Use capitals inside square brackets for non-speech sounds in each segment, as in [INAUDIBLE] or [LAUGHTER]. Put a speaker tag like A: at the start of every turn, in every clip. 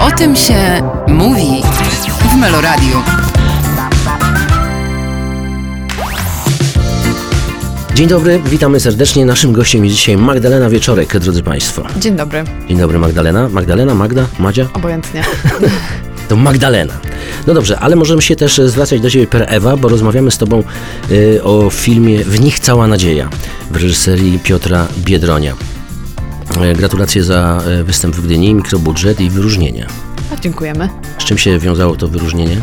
A: O tym się mówi w Meloradiu.
B: Dzień dobry, witamy serdecznie. Naszym gościem jest dzisiaj Magdalena Wieczorek, drodzy Państwo.
C: Dzień dobry,
B: Dzień dobry, Magdalena. Magdalena, Magda, Madzia?
C: obojętnie.
B: To Magdalena. No dobrze, ale możemy się też zwracać do Ciebie per Ewa, bo rozmawiamy z Tobą y, o filmie W nich cała nadzieja w reżyserii Piotra Biedronia. Y, Gratulacje za y, występ w Gdyni, mikrobudżet i wyróżnienie.
C: A dziękujemy.
B: Z czym się wiązało to wyróżnienie?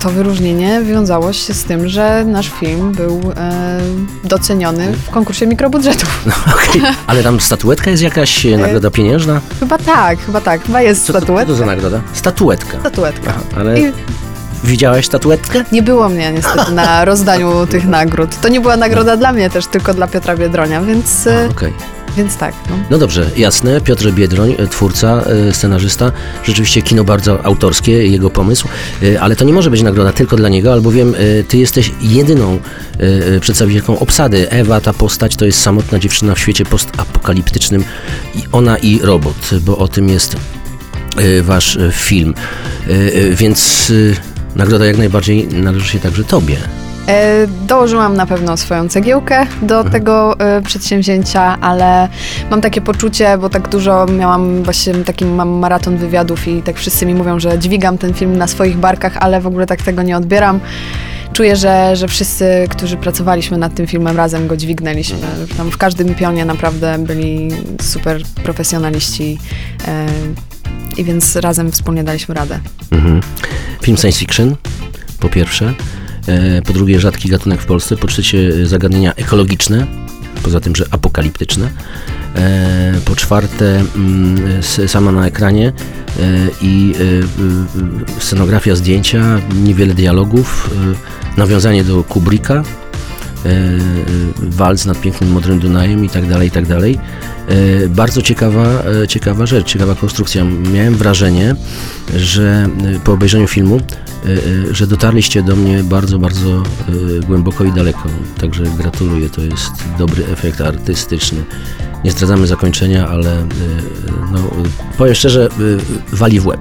C: To wyróżnienie wiązało się z tym, że nasz film był e, doceniony w
B: [LAUGHS]
C: konkursie mikrobudżetów.
B: Okej, Ale tam statuetka jest jakaś, y, nagroda pieniężna?
C: Chyba tak, chyba tak, chyba jest
B: Co, co
C: statuetka.
B: to za E. nagroda? Statuetka.
C: Statuetka.
B: Aha, ale
C: I
B: widziałaś statuetkę?
C: nie było mnie niestety
B: [LAUGHS]
C: na rozdaniu tych nagród. To nie była nagroda
B: No.
C: dla mnie też, tylko dla Piotra Biedronia, więc, e,
B: Okej.
C: więc tak. No.
B: No dobrze, jasne. Piotr Biedroń, e, twórca, e, scenarzysta. Rzeczywiście kino bardzo autorskie, jego pomysł. E, Ale to nie może być nagroda tylko dla niego, albowiem e, ty jesteś jedyną e, e, przedstawicielką obsady. Ewa, ta postać, to jest samotna dziewczyna w świecie postapokaliptycznym. I ona i robot, bo o tym jest e, wasz e, film. E, e, Więc e, nagroda jak najbardziej należy się także tobie.
C: E, Dołożyłam na pewno swoją cegiełkę do tego e, przedsięwzięcia, ale mam takie poczucie, bo tak dużo miałam, właśnie taki mam maraton wywiadów i tak wszyscy mi mówią, że dźwigam ten film na swoich barkach, ale w ogóle tak tego nie odbieram. Czuję, że, że wszyscy, którzy pracowaliśmy nad tym filmem, razem go dźwignęliśmy. Tam w każdym pionie naprawdę byli super profesjonaliści e, i więc razem wspólnie daliśmy radę.
B: Mhm. Film science fiction, po pierwsze. E, Po drugie, rzadki gatunek w Polsce. Po trzecie, e, zagadnienia ekologiczne, poza tym, że apokaliptyczne. E, Po czwarte, mm, s- sama na ekranie e, i e, y, y, scenografia zdjęcia, niewiele dialogów, e, nawiązanie do Kubricka, e, e, walc nad pięknym modrym Dunajem i tak dalej, i tak dalej. E, Bardzo ciekawa, e, ciekawa rzecz, ciekawa konstrukcja. Miałem wrażenie, że e, po obejrzeniu filmu, e, e, że dotarliście do mnie bardzo, bardzo e, głęboko i daleko. Także gratuluję, to jest dobry efekt artystyczny. Nie zdradzamy zakończenia, ale e, no, e, powiem szczerze, e, wali w łeb.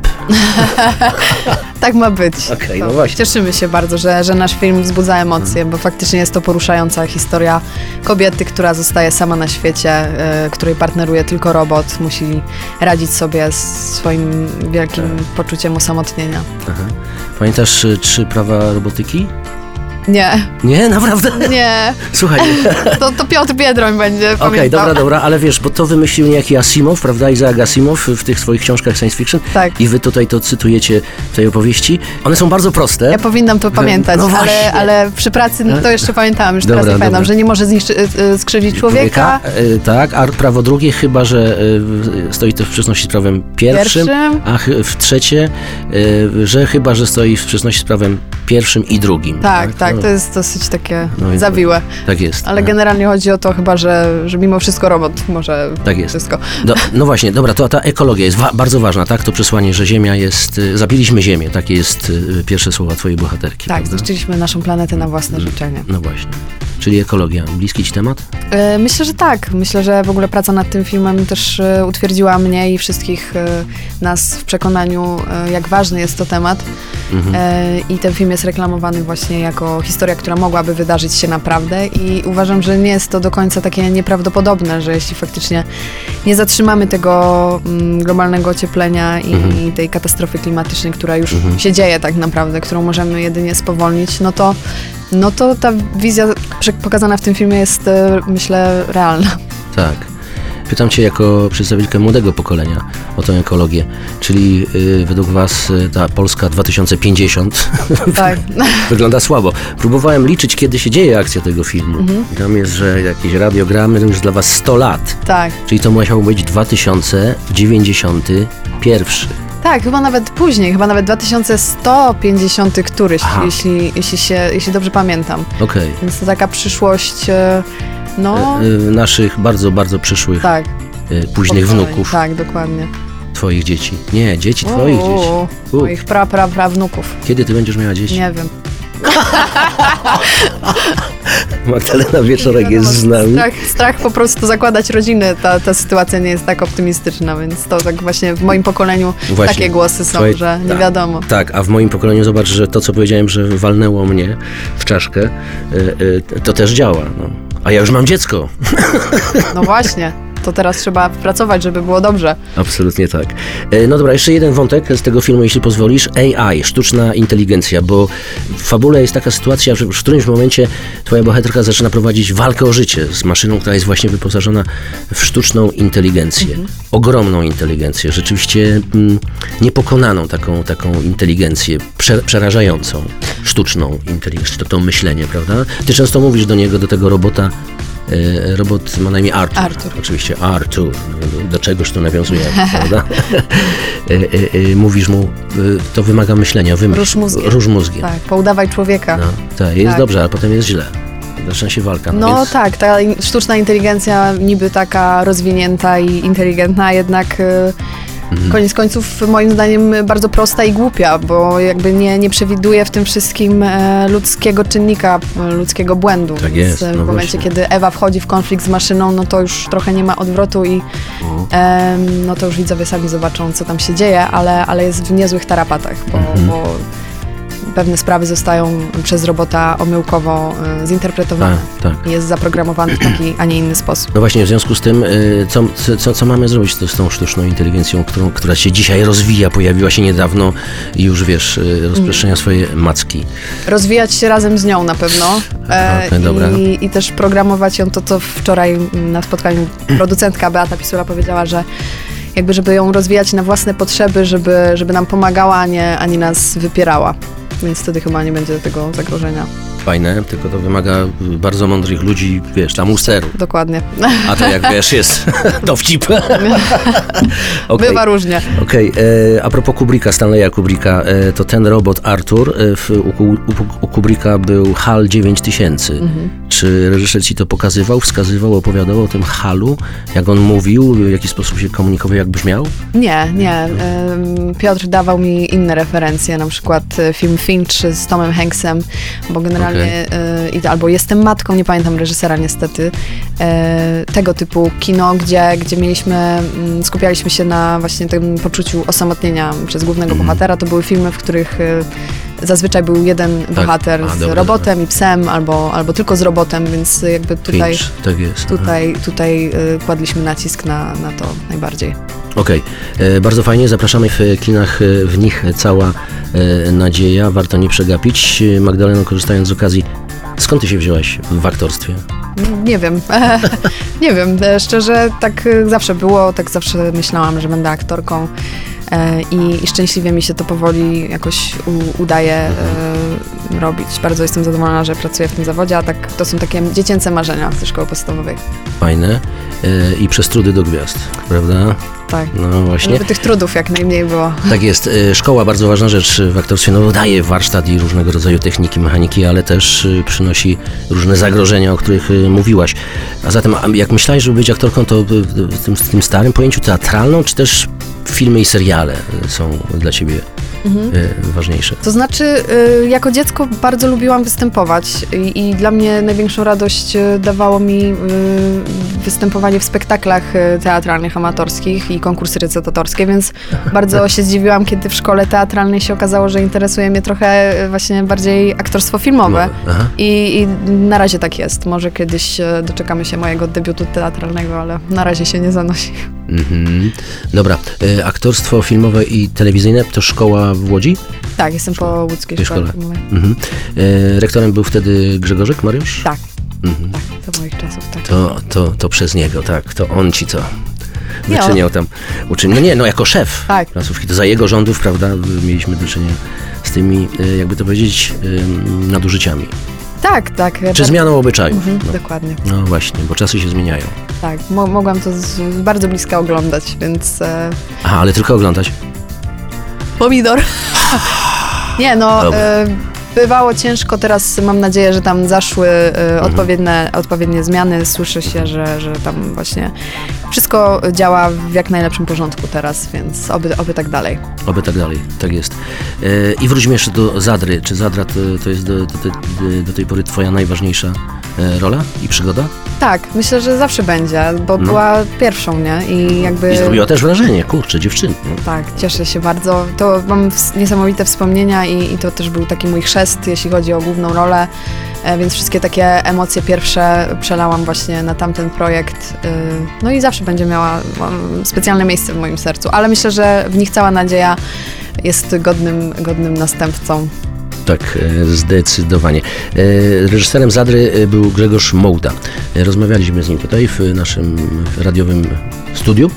C: Tak ma być.
B: Okej, no
C: To
B: właśnie.
C: Cieszymy się bardzo, że, że nasz film wzbudza emocje, bo faktycznie jest to poruszająca historia kobiety, która zostaje sama na świecie, y, której partneruje tylko robot, musi radzić sobie z swoim
B: Tak.
C: wielkim poczuciem osamotnienia.
B: Aha. Pamiętasz e, trzy prawa robotyki?
C: Nie,
B: Nie, naprawdę? [LAUGHS]
C: nie,
B: Słuchaj.
C: to, to Piotr Biedroń będzie
B: Okej,
C: pamiętał.
B: dobra, dobra, ale wiesz, bo to wymyślił niejaki Asimov, prawda, Isaac Asimov w tych swoich książkach science fiction
C: Tak.
B: i wy tutaj to cytujecie w tej opowieści. One są bardzo proste.
C: Ja powinnam to pamiętać,
B: No właśnie.
C: ale, ale przy pracy no to jeszcze pamiętałam, już teraz
B: Dobra,
C: nie pamiętam,
B: dobra.
C: że nie może zniszczy, y, y, skrzywdzić człowieka.
B: y, tak, a prawo drugie chyba, że y, w- stoi to w sprzeczności z prawem pierwszym,
C: Pierwszym.
B: a chy- w trzecie, y, że chyba, że stoi w sprzeczności z prawem pierwszym i drugim.
C: Tak, tak,
B: No,
C: to jest dosyć takie
B: No i-
C: zawiłe.
B: tak jest.
C: Ale
B: tak.
C: generalnie chodzi o to chyba, że, że mimo wszystko robot może
B: Tak jest.
C: wszystko.
B: Do, no właśnie, dobra, to ta ekologia jest wa- bardzo ważna, tak? To przesłanie, że Ziemia jest. y, Zabiliśmy Ziemię, takie jest y, pierwsze słowa Twojej bohaterki.
C: Tak,
B: prawda?
C: zniszczyliśmy naszą planetę na własne życzenie.
B: No właśnie. Czyli ekologia, bliski ci temat?
C: E, Myślę, że tak. Myślę, że w ogóle praca nad tym filmem też e, utwierdziła mnie i wszystkich e, nas w przekonaniu, e, jak ważny jest to temat. E, I ten film jest reklamowany właśnie jako historia, która mogłaby wydarzyć się naprawdę. I uważam, że nie jest to do końca takie nieprawdopodobne, że jeśli faktycznie nie zatrzymamy tego mm, globalnego ocieplenia i, i tej katastrofy klimatycznej, która już się dzieje tak naprawdę, którą możemy jedynie spowolnić, no to no to ta wizja prze- pokazana w tym filmie jest, e, myślę, realna.
B: [LAUGHS] Tak. Pytam cię jako przedstawicielkę młodego pokolenia o tę ekologię, czyli y, według was y, ta Polska 2050
C: Tak.
B: [LAUGHS] wygląda słabo. Próbowałem liczyć, kiedy się dzieje akcja tego filmu.
C: Mhm.
B: I Tam jest, że jakieś radiogramy to już dla was 100 lat,
C: tak.
B: czyli to musiał być 2091.
C: Tak, chyba nawet później, chyba nawet 2150 któryś,
B: Aha.
C: jeśli, jeśli, się, jeśli dobrze pamiętam.
B: Okej.
C: Więc to taka przyszłość, e, no...
B: Y, y, Naszych bardzo, bardzo przyszłych,
C: tak.
B: y, późnych
C: pokoleń.
B: wnuków,
C: Tak, dokładnie.
B: twoich dzieci. Nie, dzieci twoich
C: Uuu,
B: dzieci. U.
C: Moich pra, pra, prawnuków.
B: Kiedy ty będziesz miała dzieci?
C: Nie wiem.
B: Magdalena Wieczorek jest z nami.
C: Strach, strach po prostu zakładać rodzinę, ta, ta sytuacja nie jest tak optymistyczna, więc to tak właśnie w moim pokoleniu
B: Właśnie.
C: takie głosy są,
B: Twoje-
C: że nie
B: tak.
C: wiadomo.
B: Tak, a w moim pokoleniu zobacz, że to, co powiedziałem, że walnęło mnie w czaszkę, y, y, to też działa. No. A ja już mam dziecko.
C: No właśnie, to teraz trzeba pracować, żeby było dobrze.
B: Absolutnie tak. E, No dobra, jeszcze jeden wątek z tego filmu, jeśli pozwolisz. AI, sztuczna inteligencja, bo w fabule jest taka sytuacja, że w którymś momencie twoja bohaterka zaczyna prowadzić walkę o życie z maszyną, która jest właśnie wyposażona w sztuczną inteligencję. Ogromną inteligencję, rzeczywiście mm, niepokonaną taką, taką inteligencję, prze, przerażającą, sztuczną inteligencję, to, to myślenie, prawda? Ty często mówisz do niego, do tego robota, e, Robot ma na imię Artur.
C: Artur.
B: Oczywiście Artur, do czegoż to nawiązuje, [LAUGHS] prawda? Y, y, y, Mówisz mu, y, to wymaga myślenia, wymyśl.
C: Róż mózgiem.
B: Róż mózgiem.
C: Tak, poudawaj człowieka.
B: No, tak, jest
C: Tak.
B: dobrze, ale potem jest źle. Zaczyna się walka.
C: No
B: więc
C: tak, ta in- sztuczna inteligencja niby taka rozwinięta i inteligentna, jednak y,
B: Mhm.
C: koniec końców moim zdaniem y, bardzo prosta i głupia, bo jakby nie, nie przewiduje w tym wszystkim e, ludzkiego czynnika, y, ludzkiego błędu.
B: Tak
C: Więc,
B: jest,
C: y,
B: no
C: w momencie,
B: właśnie.
C: kiedy Ewa wchodzi w konflikt z maszyną, no to już trochę nie ma odwrotu i
B: Mhm.
C: em, no to już widzowie sami zobaczą, co tam się dzieje, ale, ale jest w niezłych tarapatach, bo,
B: Mhm.
C: bo pewne sprawy zostają przez robota omyłkowo y, zinterpretowane
B: Tak, tak.
C: jest zaprogramowany w taki, a nie inny sposób.
B: No właśnie, w związku z tym, y, co, co, co mamy zrobić z, z tą sztuczną inteligencją, którą, która się dzisiaj rozwija, pojawiła się niedawno i już wiesz, y, rozprzestrzenia
C: Mm.
B: swoje macki.
C: Rozwijać się razem z nią na pewno e,
B: Okej, dobra.
C: i, i też programować ją to, co wczoraj mm, na spotkaniu producentka Beata Pisula powiedziała, że jakby żeby ją rozwijać na własne potrzeby, żeby, żeby nam pomagała, a nie, a nie nas wypierała. Więc wtedy chyba nie będzie tego zagrożenia.
B: Fajne, tylko to wymaga y, bardzo mądrych ludzi, wiesz, tam u steru.
C: Dokładnie. [LAUGHS]
B: A to jak wiesz, jest [LAUGHS] dowcip. Okej.
C: Bywa różnie.
B: Okej, e, a propos Kubricka, Stanleya Kubricka, e, to ten robot Arthur e, w, u, Ku- u, u Kubricka był HAL 9000.
C: Mhm.
B: Czy reżyser ci to pokazywał, wskazywał, opowiadał o tym HALu, jak on mówił, w jaki sposób się komunikował, jak brzmiał?
C: Nie, nie. Ym, Piotr dawał mi inne referencje, na przykład y, film Finch z Tomem Hanksem, bo generalnie y, i- albo Jestem Matką, nie pamiętam reżysera niestety, y, tego typu kino, gdzie, gdzie mieliśmy, mm, skupialiśmy się na właśnie tym poczuciu osamotnienia przez głównego
B: Mhm.
C: bohatera. To były filmy, w których y, zazwyczaj był jeden bohater
B: Tak. A,
C: z
B: dobra,
C: robotem i psem, albo, albo tylko z robotem, więc y, jakby tutaj,
B: Finch, tak jest. aha.
C: tutaj, tutaj y, kładliśmy nacisk na, na to najbardziej.
B: Okej, e, bardzo fajnie, zapraszamy w e, kinach, e, w nich cała e, nadzieja, warto nie przegapić. E, Magdaleno, korzystając z okazji, skąd ty się wzięłaś w aktorstwie?
C: Nie wiem. [LAUGHS] nie wiem. E, Szczerze, tak e, zawsze było, tak zawsze myślałam, że będę aktorką. E, I, i szczęśliwie mi się to powoli jakoś u, udaje e, robić. Bardzo jestem zadowolona, że pracuję w tym zawodzie, a tak to są takie dziecięce marzenia ze szkoły podstawowej.
B: Fajne e, i przez trudy do gwiazd, prawda?
C: Tak.
B: No właśnie.
C: Żeby tych trudów jak najmniej było.
B: Tak jest. E, Szkoła bardzo ważna rzecz w aktorstwie. No, daje warsztat i różnego rodzaju techniki, mechaniki, ale też e, przynosi różne zagrożenia, o których e, mówiłaś. A zatem, a jak myślałeś, żeby być aktorką, to e, w tym, w tym starym pojęciu teatralną, czy też filmy i seriale e, są dla ciebie e, ważniejsze?
C: To znaczy, y, jako dziecko bardzo lubiłam występować i, i dla mnie największą radość y, dawało mi y, występowanie w spektaklach y, teatralnych, amatorskich i konkursy recytatorskie, więc
B: [LAUGHS]
C: bardzo się zdziwiłam, kiedy w szkole teatralnej się okazało, że interesuje mnie trochę y, właśnie bardziej aktorstwo filmowe.
B: Aha.
C: I, I na razie tak jest. Może kiedyś y, doczekamy się mojego debiutu teatralnego, ale na razie się nie zanosi.
B: Mhm. Dobra. E, Aktorstwo filmowe i telewizyjne to szkoła w Łodzi?
C: Tak, jestem po łódzkiej
B: W
C: szkole.
B: szkole.
C: filmowej.
B: Mhm. E, Rektorem był wtedy Grzegorzyk Mariusz?
C: Tak,
B: Mhm.
C: tak, do moich czasów, tak.
B: To, to, to przez niego, tak. To on ci co
C: Nie, on-
B: wyczyniał tam. Uczynił. No nie, no jako szef
C: Tak.
B: placówki. To za jego rządów, prawda, mieliśmy do czynienia z tymi, e, jakby to powiedzieć, e, nadużyciami.
C: Tak, tak.
B: Czy zmianą obyczajów.
C: Mhm,
B: No.
C: Dokładnie.
B: no właśnie, bo czasy się zmieniają.
C: Tak, mo- mogłam to z, z bardzo bliska oglądać, więc e,
B: Aha, ale tylko oglądać.
C: pomidor. [LAUGHS] Nie no,
B: Dobra.
C: e, bywało ciężko, teraz mam nadzieję, że tam zaszły e,
B: Mhm.
C: odpowiednie, odpowiednie zmiany. Słyszy się, że, że tam właśnie wszystko działa w jak najlepszym porządku teraz, więc oby, oby tak dalej.
B: Oby tak dalej, tak jest. E, I wróćmy jeszcze do Zadry. Czy Zadra to, to jest do, do, te- do tej pory twoja najważniejsza e, rola i przygoda?
C: Tak, myślę, że zawsze będzie, bo była pierwszą, nie? I jakby...
B: No. I zrobiła też wrażenie, kurczę, dziewczyny.
C: Tak, cieszę się bardzo. To mam ws- niesamowite wspomnienia i, i to też był taki mój chrzest, jeśli chodzi o główną rolę, e, więc wszystkie takie emocje pierwsze przelałam właśnie na tamten projekt. y, No i zawsze będzie miała mm, specjalne miejsce w moim sercu, ale myślę, że w nich cała nadzieja jest godnym, godnym następcą.
B: Tak, e, zdecydowanie. E, Reżyserem Zadry e, był Grzegorz Mołda. E, Rozmawialiśmy z nim tutaj w e, naszym radiowym studiu.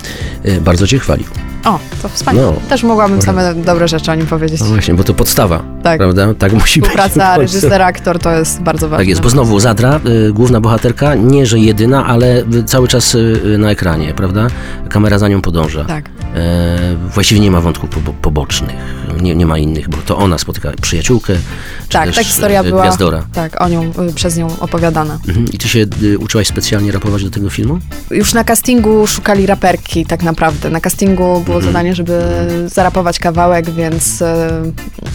B: E, Bardzo cię chwalił.
C: O, to wspaniale.
B: No.
C: Też mogłabym same dobre rzeczy o nim powiedzieć.
B: No właśnie, bo to podstawa,
C: Tak.
B: prawda? Tak musi być.
C: Współpraca
B: w Polsce.
C: reżysera-aktor to jest bardzo ważne.
B: Tak jest, bo znowu Zadra, y, główna bohaterka, nie że jedyna, ale y, cały czas y, y, na ekranie, prawda? Kamera za nią podąża.
C: Tak.
B: E, właściwie nie ma wątków po, pobocznych, nie, nie ma innych, bo to ona spotyka przyjaciółkę, czy
C: Tak,
B: też
C: ta historia
B: y,
C: była
B: gwiazdora.
C: tak, o nią, y, przez nią opowiadana.
B: Mhm. I ty się y, uczyłaś specjalnie rapować do tego filmu?
C: Już na castingu szukali raperki tak naprawdę. Na castingu było zadanie, żeby zarapować kawałek, więc e,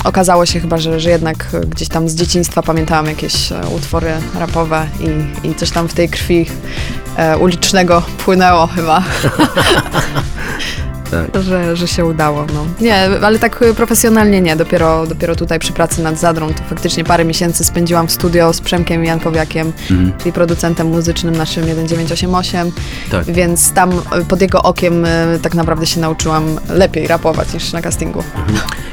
C: okazało się chyba, że, że jednak e, gdzieś tam z dzieciństwa pamiętałam jakieś e, utwory rapowe i, i coś tam w tej krwi e, ulicznego płynęło chyba.
B: Tak.
C: Że, że się udało. No. Nie, ale tak e, profesjonalnie nie. Dopiero, dopiero tutaj przy pracy nad Zadrą to faktycznie parę miesięcy spędziłam w studio z Przemkiem Jankowiakiem,
B: Mhm.
C: czyli producentem muzycznym naszym 1988.
B: Tak.
C: Więc tam e, pod jego okiem e, tak naprawdę się nauczyłam lepiej rapować niż na castingu.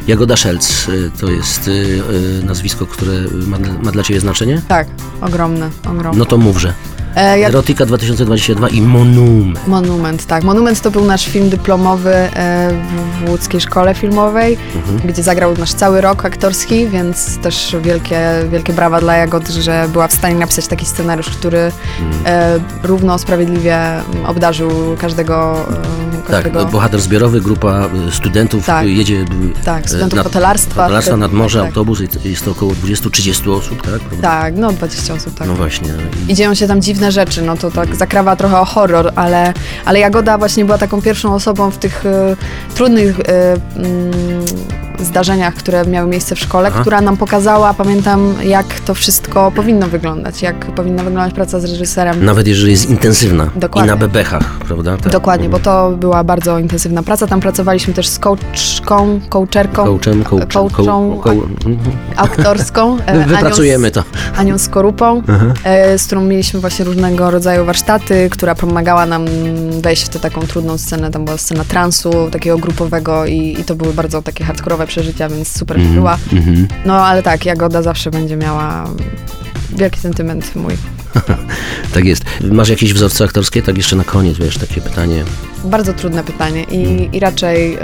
B: Jagoda Szelc y, to jest y, y, nazwisko, które ma, ma dla ciebie znaczenie?
C: Tak, ogromne, ogromne.
B: No to mówże.
C: E, jak
B: Erotika 2022 i Monum.
C: Monument, tak. Monument to był nasz film dyplomowy e, w- w łódzkiej szkole filmowej,
B: Mhm.
C: gdzie zagrał nasz cały rok aktorski, więc też wielkie, wielkie brawa dla Jagody, że była w stanie napisać taki scenariusz, który e,
B: Mhm.
C: równo sprawiedliwie m, obdarzył każdego. E,
B: Tak,
C: każdego...
B: bohater zbiorowy, grupa y, studentów
C: Tak.
B: y, jedzie y,
C: Tak,
B: y,
C: studentów
B: nad-
C: hotelarstwa.
B: hotelarstwa nad morze,
C: Tak, tak.
B: autobus i t- jest to około 20-30 osób, tak? Prawda?
C: Tak, no 20 osób, tak.
B: No właśnie. no i-
C: I dzieją się tam dziwne rzeczy, no to tak zakrawa trochę o horror, ale, ale Jagoda właśnie była taką pierwszą osobą w tych e, trudnych e, mm, zdarzeniach, które miały miejsce w szkole,
B: Aha.
C: która nam pokazała, pamiętam, jak to wszystko powinno wyglądać, jak powinna wyglądać praca z reżyserem.
B: Nawet jeżeli jest intensywna
C: Dokładnie.
B: i na bebechach, prawda? Tak.
C: Dokładnie, bo to była bardzo intensywna praca. Tam pracowaliśmy też z coachką, coacherką
B: Kołczem, kołczem, koł-
C: Kołczą,
B: koł- mhm. [LAUGHS]
C: aktorską. e, Anią
B: Wypracujemy
C: z-
B: to.
C: [LAUGHS] Anią Skorupą, e, z którą mieliśmy właśnie różnego rodzaju warsztaty, która pomagała nam wejść w tę taką trudną scenę, tam była scena transu, takiego grupowego i, i to były bardzo takie hardkorowe przeżycia, więc super mm była.
B: Mhm.
C: No ale tak, Jagoda zawsze będzie miała wielki sentyment mój.
B: Tak jest. Masz jakieś wzorce aktorskie? Tak jeszcze na koniec, wiesz, takie pytanie.
C: Bardzo trudne pytanie i, i raczej, y,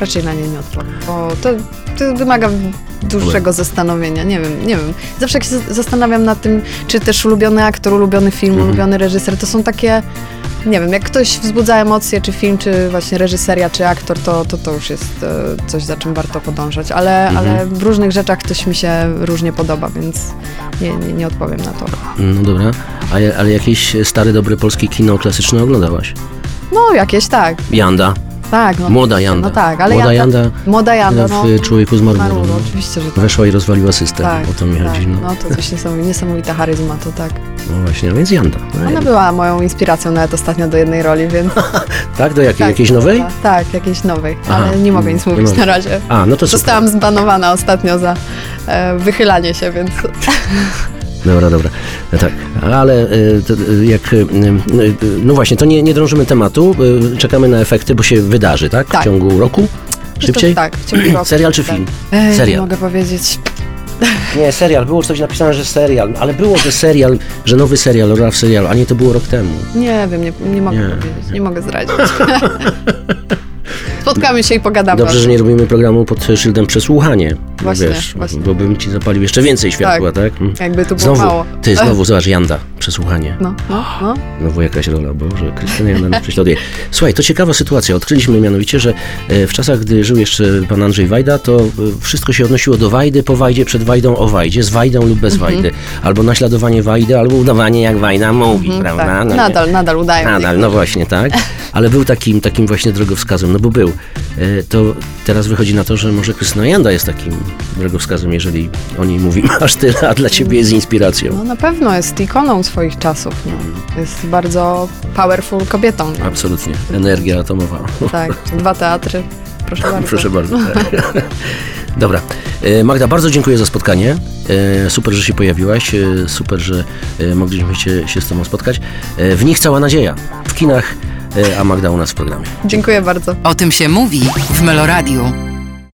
C: raczej na nie nie odpowiem, bo to, to wymaga dłuższego zastanowienia, nie wiem, nie wiem. Zawsze jak się z- zastanawiam nad tym, czy też ulubiony aktor, ulubiony film, ulubiony reżyser, to są takie, nie wiem, jak ktoś wzbudza emocje, czy film, czy właśnie reżyseria, czy aktor, to to, to już jest e, coś, za czym warto podążać, ale, ale w różnych rzeczach ktoś mi się różnie podoba, więc nie, nie, nie odpowiem na to.
B: No dobra, A ja- ale jakieś stare, dobre polskie kino klasyczne oglądałaś?
C: No, jakieś tak,
B: Janda,
C: tak. No,
B: Młoda Janda.
C: No tak, ale
B: Młoda Janda
C: Młoda Janda,
B: w
C: no,
B: y, Człowieku z Marmuru.
C: Marmuru,
B: no.
C: oczywiście, że tak.
B: Weszła i rozwaliła system, o to mi chodzi.
C: tak.
B: No.
C: No to coś niesamowite, niesamowita charyzma, to tak.
B: no właśnie, no więc Janda. No,
C: Ona była moją inspiracją nawet ostatnio do jednej roli, więc...
B: Tak, do jakiej,
C: tak,
B: jakiejś nowej?
C: chyba. Tak, jakiejś nowej,
B: Aha,
C: ale nie mogę nic
B: nie
C: mówić
B: mogę.
C: na razie.
B: A, no to super.
C: Zostałam zbanowana ostatnio za e, wychylanie się, więc...
B: Dobra, dobra. No tak, ale y, to, y, jak. y, y, y, No właśnie, to nie, nie drążymy tematu, y, czekamy na efekty, bo się wydarzy, tak? W
C: Tak.
B: ciągu roku? Szybciej?
C: [LAUGHS] To, tak, w ciągu roku.
B: Serial czy
C: tak.
B: film?
C: Ej,
B: Serial.
C: Nie mogę powiedzieć.
B: Nie, serial. Było coś napisane, że serial, ale było, że serial, że nowy serial, rola w serialu, a nie to było rok temu.
C: Nie wiem, nie, nie mogę
B: Nie.
C: powiedzieć, nie
B: [LAUGHS]
C: mogę zdradzić. Spotkamy się i pogadamy.
B: Dobrze, że nie robimy programu pod szyldem przesłuchanie.
C: Właśnie,
B: wiesz,
C: właśnie.
B: bo bym ci zapalił jeszcze więcej światła, tak? Mm.
C: Jakby tu było
B: Znowu,
C: mało. [LAUGHS]
B: ty, znowu, zobacz, Janda, przesłuchanie.
C: No, no, no.
B: Znowu jakaś rola, Boże, Krystyna Janda nas prześladuje. Słuchaj, to ciekawa sytuacja. Odkryliśmy mianowicie, że e, w czasach, gdy żył jeszcze pan Andrzej Wajda, to e, wszystko się odnosiło do Wajdy, po Wajdzie, przed Wajdą, o Wajdzie, z Wajdą lub bez
C: Mhm.
B: Wajdy. Albo naśladowanie Wajdy, albo udawanie jak Wajda mówi,
C: Mhm,
B: prawda?
C: tak.
B: No nie.
C: nadal, nadal udają.
B: Nadal, no właśnie, tak. Ale był takim, takim właśnie drogowskazem, no bo był. E, To teraz wychodzi na to, że może Krystyna Janda jest takim drogowskazem, jeżeli o niej mówimy [LAUGHS] aż tyle, a dla ciebie jest inspiracją.
C: No na pewno jest ikoną swoich czasów. No. Jest bardzo powerful kobietą.
B: Absolutnie. Energia atomowa. [LAUGHS]
C: Tak, dwa teatry. [LAUGHS] Proszę bardzo.
B: Proszę bardzo. [LAUGHS] Dobra. E, Magda, bardzo dziękuję za spotkanie. E, Super, że się pojawiłaś. e, Super, że e, mogliśmy się, się z Tobą spotkać. E, W nich cała nadzieja. W kinach, e, a Magda u nas w programie.
C: Dziękuję bardzo.
A: O tym się mówi w Meloradio.